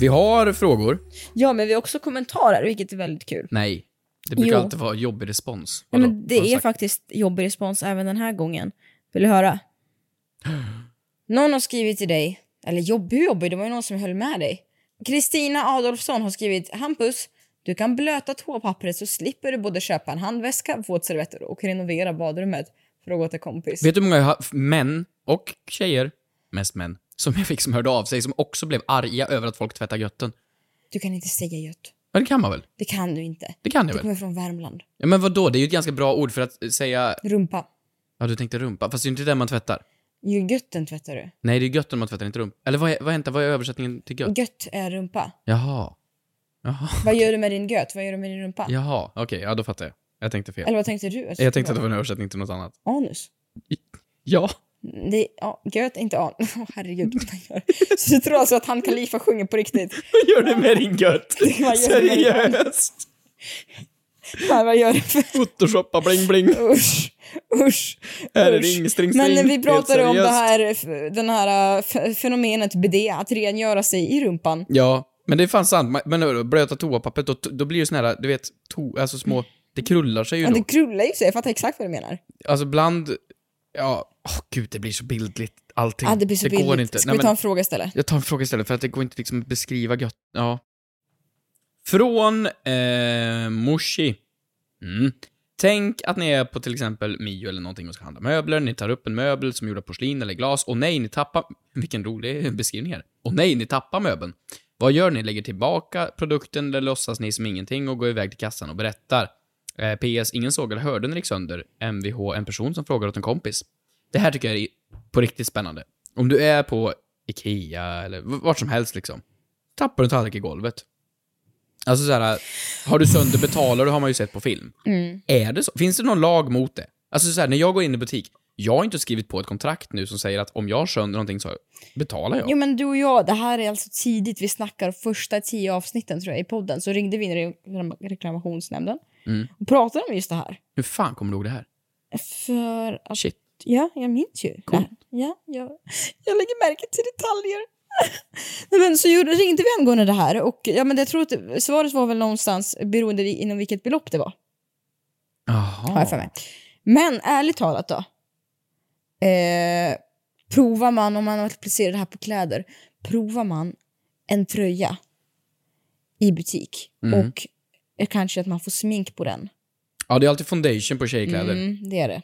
[SPEAKER 3] Vi har frågor.
[SPEAKER 2] Ja, men vi har också kommentarer, vilket är väldigt kul.
[SPEAKER 3] Nej. Det brukar
[SPEAKER 2] Jo.
[SPEAKER 3] alltid vara jobbig respons.
[SPEAKER 2] Ja,
[SPEAKER 3] Vadå?
[SPEAKER 2] men det
[SPEAKER 3] Har du
[SPEAKER 2] är
[SPEAKER 3] sagt?
[SPEAKER 2] faktiskt jobbig respons även den här gången. Vill du höra? Någon har skrivit till dig, eller jobbig och jobbig, det var ju någon som höll med dig. Kristina Adolfsson har skrivit Hampus, du kan blöta toapappret så slipper du både köpa en handväska, våtservetter och renovera badrummet. För att gå till kompis.
[SPEAKER 3] Vet du hur många jag har- män och tjejer, mest män, som jag fick som hörde av sig som också blev arga över att folk tvättar götten?
[SPEAKER 2] Du kan inte säga gött.
[SPEAKER 3] Men det kan man väl?
[SPEAKER 2] Det kan du inte.
[SPEAKER 3] Det kan jag
[SPEAKER 2] Du
[SPEAKER 3] väl?
[SPEAKER 2] kommer från Värmland.
[SPEAKER 3] Ja, men vadå? Det är ju ett ganska bra ord för att eh, säga...
[SPEAKER 2] Rumpa.
[SPEAKER 3] Ja, du tänkte rumpa. Fast det är ju inte det man tvättar.
[SPEAKER 2] Jo, Götten tvättar du.
[SPEAKER 3] Nej, det är götten man tvättar, inte rumpa. Eller vad är, vad, vänta, vad är översättningen till gött?
[SPEAKER 2] Gött är rumpa.
[SPEAKER 3] Jaha. Jaha.
[SPEAKER 2] Vad gör du med din göt? Vad gör du med din rumpa?
[SPEAKER 3] Jaha. Okej, ja då fattar jag. Jag tänkte fel.
[SPEAKER 2] Eller vad tänkte du?
[SPEAKER 3] Jag tänkte att det var en översättning till något annat.
[SPEAKER 2] Anus.
[SPEAKER 3] Ja.
[SPEAKER 2] Det, ja, Göt är inte an. Åh, herregud vad man gör. Så du tror alltså att han Khalifa sjunger på riktigt?
[SPEAKER 3] Vad gör du med din gött?
[SPEAKER 2] Det kan man göra med din hand.
[SPEAKER 3] Seriöst?
[SPEAKER 2] Här, vad gör du för...
[SPEAKER 3] Photoshoppa bling bling.
[SPEAKER 2] Usch, usch.
[SPEAKER 3] Här är
[SPEAKER 2] usch.
[SPEAKER 3] ring, string, string.
[SPEAKER 2] Men vi
[SPEAKER 3] Helt
[SPEAKER 2] pratade om det
[SPEAKER 3] seriöst.
[SPEAKER 2] här, f- den här äh, f- fenomenet BD, att rengöra sig i rumpan.
[SPEAKER 3] Ja, men det är fan sant. Man- Men hörru, blöta toapappret, då, då blir det sån här, du vet, to, alltså små, det krullar sig ju
[SPEAKER 2] Men
[SPEAKER 3] då.
[SPEAKER 2] det krullar ju sig, jag fattar exakt vad du menar.
[SPEAKER 3] Alltså bland, ja, åh gud det blir så bildligt allting.
[SPEAKER 2] Ja, det blir så
[SPEAKER 3] går
[SPEAKER 2] bildligt.
[SPEAKER 3] inte.
[SPEAKER 2] Ska
[SPEAKER 3] Nej,
[SPEAKER 2] vi
[SPEAKER 3] men-
[SPEAKER 2] ta en fråga istället?
[SPEAKER 3] Jag tar en fråga istället för att det går inte liksom att beskriva gött. Ja. Från eh, Moshi. Mm. Tänk att ni är på till exempel Mio eller någonting och ska handla möbler. Ni tar upp en möbel som är gjord av porslin eller glas. Och nej, ni tappar... Vilken rolig beskrivning här. Och nej, ni tappar möbeln. Vad gör ni? Lägger tillbaka produkten eller låtsas ni som ingenting och går iväg till kassan och berättar? Eh, PS. Ingen såg eller hörde när det gick sönder. Mvh. En person som frågar åt en kompis. Det här tycker jag är på riktigt spännande. Om du är på Ikea eller v- vart som helst liksom. Tappar du en tallrik i golvet. Alltså såhär, har du sönder betalar du har man ju sett på film.
[SPEAKER 2] Mm.
[SPEAKER 3] Är det så? Finns det någon lag mot det? Alltså såhär, när jag går in i butik, jag har inte skrivit på ett kontrakt nu som säger att om jag sönder någonting så betalar jag.
[SPEAKER 2] Jo men du och jag, det här är alltså tidigt, vi snackar första tio avsnitten tror jag i podden, så ringde vi in i reklam- reklamationsnämnden
[SPEAKER 3] Mm.
[SPEAKER 2] och pratade om just det här.
[SPEAKER 3] Hur fan kommer du ihåg det här?
[SPEAKER 2] För att...
[SPEAKER 3] Shit.
[SPEAKER 2] Ja, jag minns ju.
[SPEAKER 3] Coolt.
[SPEAKER 2] Ja, jag, jag lägger märke till detaljer. Nej, men så gjorde, ringde vi angående det här och ja, men jag tror att svaret var väl någonstans beroende i- inom vilket belopp det var. Har jag för mig. Men ärligt talat då. Eh, provar man, om man applicerar det här på kläder, provar man en tröja i butik
[SPEAKER 3] Mm.
[SPEAKER 2] och eh, kanske att man får smink på den.
[SPEAKER 3] Ja, det är alltid foundation på tjejkläder.
[SPEAKER 2] Mm, det är det.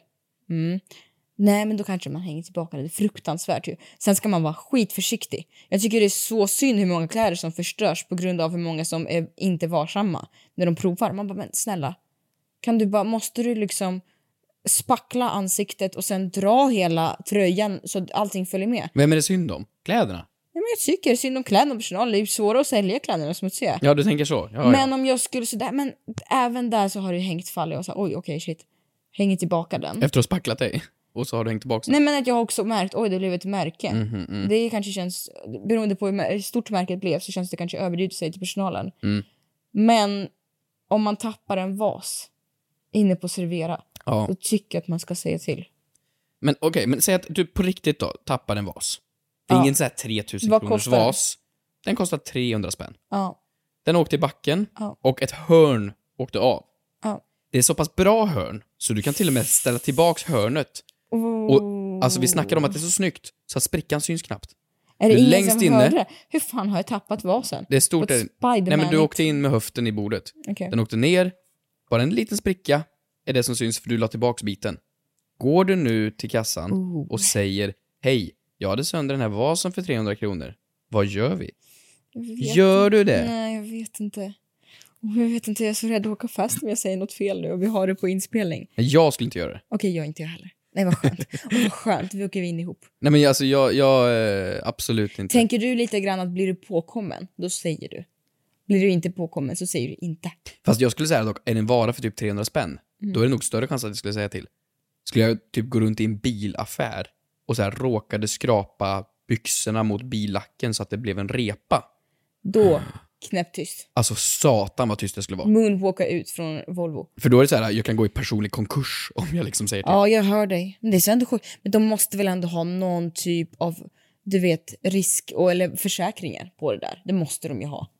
[SPEAKER 2] Mm. Nej, men då kanske man hänger tillbaka det. Det är fruktansvärt ju. Sen ska man vara skitförsiktig. Jag tycker det är så synd hur många kläder som förstörs på grund av hur många som är inte varsamma när de provar. Man bara, men snälla, kan du bara, måste du liksom spackla ansiktet och sen dra hela tröjan så att allting följer med?
[SPEAKER 3] Vem är det synd om? Kläderna?
[SPEAKER 2] Nej, men jag tycker synd om kläderna och personalen. Det är ju svårare att sälja kläderna smutsiga.
[SPEAKER 3] Ja, du tänker så? Ja,
[SPEAKER 2] men
[SPEAKER 3] ja.
[SPEAKER 2] om jag skulle sådär, men även där så har det ju hängt fall. Jag sa, oj, okej, shit. Hänger tillbaka den.
[SPEAKER 3] Efter att ha spacklat dig? Och så har du hängt tillbaka
[SPEAKER 2] Nej men att jag har också märkt, oj det blev ett märke.
[SPEAKER 3] Mhm, mm.
[SPEAKER 2] Det kanske känns, beroende på hur mär- stort märket blev så känns det kanske överdrivet att säga till personalen.
[SPEAKER 3] Mm.
[SPEAKER 2] Men om man tappar en vas inne på servera,
[SPEAKER 3] Ja.
[SPEAKER 2] då tycker jag att man ska säga till.
[SPEAKER 3] Men okej, men säg att du på riktigt då tappar en vas. Det är
[SPEAKER 2] Ja.
[SPEAKER 3] ingen sån här 3000
[SPEAKER 2] Vad
[SPEAKER 3] kronors
[SPEAKER 2] kostar den?
[SPEAKER 3] vas. Den kostar 300 spänn.
[SPEAKER 2] Ja,
[SPEAKER 3] Den åkte i backen
[SPEAKER 2] Ja.
[SPEAKER 3] och ett hörn åkte av.
[SPEAKER 2] ja.
[SPEAKER 3] Det är så pass bra hörn så du kan till och med ställa tillbaks hörnet. Och, alltså vi snackar om att det är så snyggt så att sprickan syns knappt.
[SPEAKER 2] Är det
[SPEAKER 3] du är
[SPEAKER 2] ingen
[SPEAKER 3] längst
[SPEAKER 2] som
[SPEAKER 3] inne.
[SPEAKER 2] hörde det? Hur fan har jag tappat vasen?
[SPEAKER 3] Det är stort.
[SPEAKER 2] Vad
[SPEAKER 3] Är det? Nej men du
[SPEAKER 2] Spidermanigt.
[SPEAKER 3] åkte in med höften i bordet.
[SPEAKER 2] Okej.
[SPEAKER 3] Den åkte ner, bara en liten spricka är det som syns för du la tillbaks biten. Går du nu till kassan
[SPEAKER 2] Oh.
[SPEAKER 3] och säger hej, jag hade sönder den här vasen för 300 kronor. Vad gör vi?
[SPEAKER 2] Jag vet
[SPEAKER 3] Gör du det?
[SPEAKER 2] Nej, jag vet inte. Oh, Jag vet inte, jag är så rädd att åka fast om jag säger något fel nu och vi har det på inspelning.
[SPEAKER 3] Nej, Jag skulle inte göra det.
[SPEAKER 2] Okej, jag inte jag heller. Nej, vad skönt. Oh, vad skönt, vi åker in ihop.
[SPEAKER 3] Nej men alltså jag, jag eh, absolut inte.
[SPEAKER 2] Tänker du lite grann att blir du påkommen, då säger du. Blir du inte påkommen så säger du inte.
[SPEAKER 3] Fast jag skulle säga dock, är det en vara för typ 300 spänn,
[SPEAKER 2] Mm.
[SPEAKER 3] då är det nog större chans att jag skulle säga till. Skulle jag typ gå runt i en bilaffär och så här råkade skrapa byxorna mot billacken så att det blev en repa.
[SPEAKER 2] Då, knäpptyst.
[SPEAKER 3] Alltså satan vad tyst jag skulle
[SPEAKER 2] Mm.
[SPEAKER 3] vara.
[SPEAKER 2] Moonwalka ut från Volvo.
[SPEAKER 3] För då är det så här, jag kan gå i personlig konkurs om jag liksom säger till.
[SPEAKER 2] Ja, jag hör dig. Men det är så ändå sjukt. Men de måste väl ändå ha någon typ av, du vet, risk och, eller försäkringar på det där. Det måste de ju ha.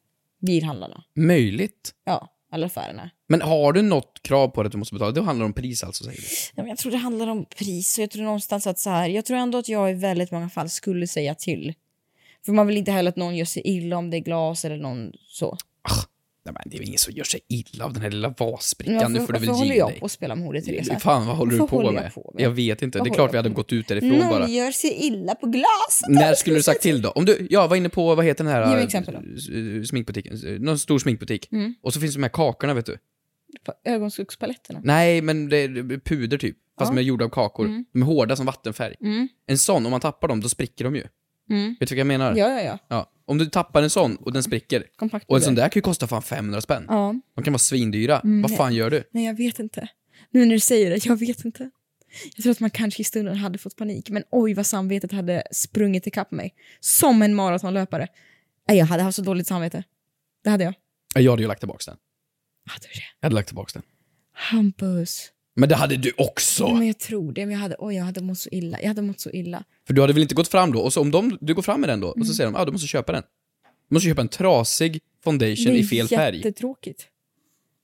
[SPEAKER 2] Bilhandlarna.
[SPEAKER 3] Möjligt.
[SPEAKER 2] Ja, alla affärerna.
[SPEAKER 3] Men har du något krav på det att du måste betala? Det handlar om pris alltså, säger du.
[SPEAKER 2] Ja, men jag tror det handlar om pris och jag tror någonstans att så här, jag tror ändå att jag i väldigt många fall skulle säga till. För man vill inte heller att någon gör sig illa om det är glas eller någon så.
[SPEAKER 3] Nej, men det är väl ingen som gör sig illa av den här lilla
[SPEAKER 2] Men
[SPEAKER 3] vassprickan. Nu
[SPEAKER 2] varför-
[SPEAKER 3] får du väl
[SPEAKER 2] varför
[SPEAKER 3] ge
[SPEAKER 2] håller jag
[SPEAKER 3] dig.
[SPEAKER 2] på att spela med ordet Teresa?
[SPEAKER 3] Fan, vad håller du
[SPEAKER 2] Varför
[SPEAKER 3] på,
[SPEAKER 2] håller jag
[SPEAKER 3] med?
[SPEAKER 2] på
[SPEAKER 3] Jag vet inte.
[SPEAKER 2] Vad
[SPEAKER 3] det är
[SPEAKER 2] håller
[SPEAKER 3] klart
[SPEAKER 2] jag
[SPEAKER 3] vi hade
[SPEAKER 2] på
[SPEAKER 3] gått ut därifrån
[SPEAKER 2] Någon
[SPEAKER 3] bara.
[SPEAKER 2] gör sig illa på glaset.
[SPEAKER 3] När skulle du sagt till då? Om du, jag var inne på, vad heter den
[SPEAKER 2] Ge
[SPEAKER 3] här
[SPEAKER 2] mig exempel då.
[SPEAKER 3] eh, sminkbutiken? Eh, Någon stor sminkbutik.
[SPEAKER 2] Mm.
[SPEAKER 3] Och så finns de här kakorna, vet du.
[SPEAKER 2] På Ögonskuggspaletterna.
[SPEAKER 3] Nej, men det är puder typ. Fast
[SPEAKER 2] Ja.
[SPEAKER 3] de är gjorda av kakor.
[SPEAKER 2] Mm.
[SPEAKER 3] De är hårda som vattenfärg.
[SPEAKER 2] Mm,
[SPEAKER 3] En sån, om man tappar dem, då spricker de ju.
[SPEAKER 2] mm.
[SPEAKER 3] Vet du vad jag menar?
[SPEAKER 2] Ja, ja, ja.
[SPEAKER 3] Ja. Om du tappar en sån och den spricker.
[SPEAKER 2] Kompakt.
[SPEAKER 3] Och en sån där kan ju kosta fan 500 spänn.
[SPEAKER 2] Ja.
[SPEAKER 3] De kan vara svindyra.
[SPEAKER 2] Mm,
[SPEAKER 3] Vad fan gör du?
[SPEAKER 2] Nej, jag vet inte. Nu när du säger det, jag vet inte. Jag tror att man kanske i stunden hade fått panik, men oj vad samvetet hade sprungit ikapp mig. Som en maratonlöpare. Nej, jag hade haft så dåligt samvete. Det hade jag.
[SPEAKER 3] Ja, Jag hade ju lagt tillbaka den.
[SPEAKER 2] Hade du det?
[SPEAKER 3] Jag hade lagt tillbaka den.
[SPEAKER 2] Hampus.
[SPEAKER 3] Men det hade du också!
[SPEAKER 2] Men jag tror det, men jag hade, oj, jag hade mått så illa. Jag hade mått så illa.
[SPEAKER 3] För du hade väl inte gått fram då? Och så om de, du går fram med den då, och
[SPEAKER 2] Mm.
[SPEAKER 3] så säger de ah, du måste köpa den. Du måste köpa en trasig foundation i fel färg.
[SPEAKER 2] jättetråkigt.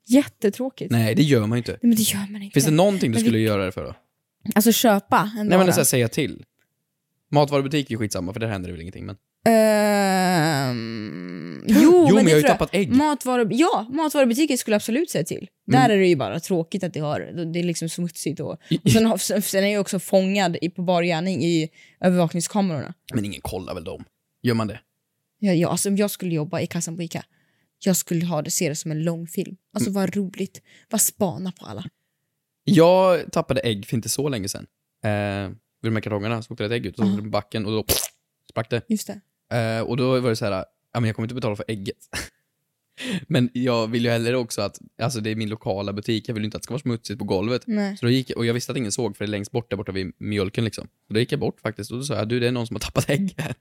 [SPEAKER 2] Jättetråkigt.
[SPEAKER 3] Nej, det gör man ju inte.
[SPEAKER 2] Nej, men det gör man inte.
[SPEAKER 3] Finns det någonting du
[SPEAKER 2] Men
[SPEAKER 3] skulle göra det för då?
[SPEAKER 2] Alltså köpa en
[SPEAKER 3] Nej men
[SPEAKER 2] vara.
[SPEAKER 3] så här, säga till. Matvarubutik är ju skitsamma för där händer det väl ingenting men.
[SPEAKER 2] Ehm, jo,
[SPEAKER 3] Jo, men
[SPEAKER 2] det
[SPEAKER 3] jag har ju
[SPEAKER 2] tror
[SPEAKER 3] tappat ägg. Mm.
[SPEAKER 2] Matvaru, ja, matvarubutiker skulle jag absolut säga till. Där är det ju bara tråkigt att det, har, det är liksom smutsigt. Och, och sen, har- sen sen är jag ju också fångad i, på bar gärning i övervakningskamerorna.
[SPEAKER 3] Men ingen kollar väl dem? Gör man det?
[SPEAKER 2] Jag, jag, alltså, om jag skulle jobba i kassan på Ica, jag skulle ha det, se det som en lång film. Alltså
[SPEAKER 3] Mm.
[SPEAKER 2] vad roligt, vad spana på alla.
[SPEAKER 3] Jag tappade ägg för inte så länge sedan. Eh, vid de här kartongerna så åkte det ett ägg ut och så åkte det på backen och då sprack det.
[SPEAKER 2] Just det.
[SPEAKER 3] Eh, och då var det så här, ja men jag kommer inte betala för ägget. men jag vill ju hellre också att, alltså det är min lokala butik, jag vill ju inte att det ska vara smutsigt på golvet.
[SPEAKER 2] Nej.
[SPEAKER 3] Så då gick jag, och jag visste att ingen såg för det är längst bort där borta vid mjölken liksom. Så då gick jag bort faktiskt och då sa jag, du det är någon som har tappat ägg här.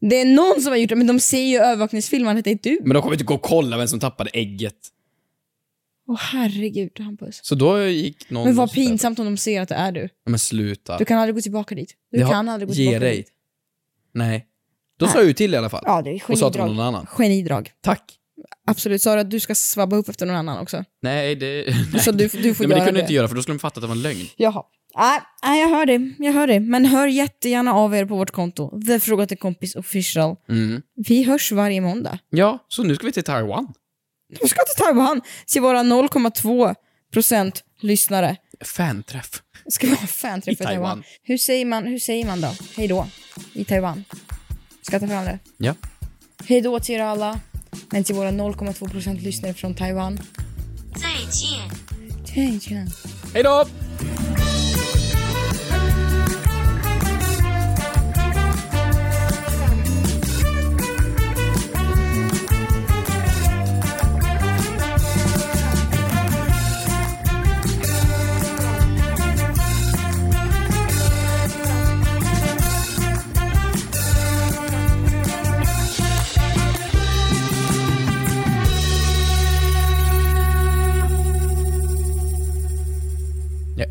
[SPEAKER 2] Det är någon som har gjort det, men de ser ju i övervakningsfilmen att det är du.
[SPEAKER 3] Men de kommer inte gå och kolla vem som tappade ägget.
[SPEAKER 2] Åh herregud Hampus.
[SPEAKER 3] Så då gick någon...
[SPEAKER 2] Men vad
[SPEAKER 3] och så där-
[SPEAKER 2] pinsamt om de ser att det är du.
[SPEAKER 3] Ja, men sluta.
[SPEAKER 2] Du kan aldrig gå tillbaka dit. Du
[SPEAKER 3] Jag-
[SPEAKER 2] kan aldrig gå
[SPEAKER 3] Ge
[SPEAKER 2] tillbaka
[SPEAKER 3] dig.
[SPEAKER 2] dit.
[SPEAKER 3] Nej. Då sa jag ju till i alla fall.
[SPEAKER 2] Ja, det är
[SPEAKER 3] och sa att det var
[SPEAKER 2] genidrag.
[SPEAKER 3] någon annan.
[SPEAKER 2] Genidrag.
[SPEAKER 3] Tack.
[SPEAKER 2] Absolut. Sa du att du ska svabba upp efter någon annan också?
[SPEAKER 3] Nej, det...
[SPEAKER 2] Så du- du får
[SPEAKER 3] Nej, men det
[SPEAKER 2] göra
[SPEAKER 3] kunde
[SPEAKER 2] det.
[SPEAKER 3] jag inte göra för då skulle de fatta att det var en lögn.
[SPEAKER 2] Jaha. Nej, nej, jag hör det. Jag hör det. Men hör jättegärna av er på vårt konto. The Fråga till kompis official.
[SPEAKER 3] Mm.
[SPEAKER 2] Vi hörs varje måndag.
[SPEAKER 3] Ja, så nu ska vi till Taiwan.
[SPEAKER 2] Vi ska till Taiwan till våra 0,2% lyssnare.
[SPEAKER 3] Fanträff.
[SPEAKER 2] Ska vi ha fanträff
[SPEAKER 3] I
[SPEAKER 2] i Taiwan?
[SPEAKER 3] Taiwan.
[SPEAKER 2] Hur, säger man, hur säger man då? Hej då. I Taiwan. Ska jag ta fram det?
[SPEAKER 3] Ja.
[SPEAKER 2] Hej då till er alla. Men till våra 0,2% lyssnare från Taiwan.
[SPEAKER 12] 再见。
[SPEAKER 2] Hej, tjena.
[SPEAKER 3] Hej då! Jag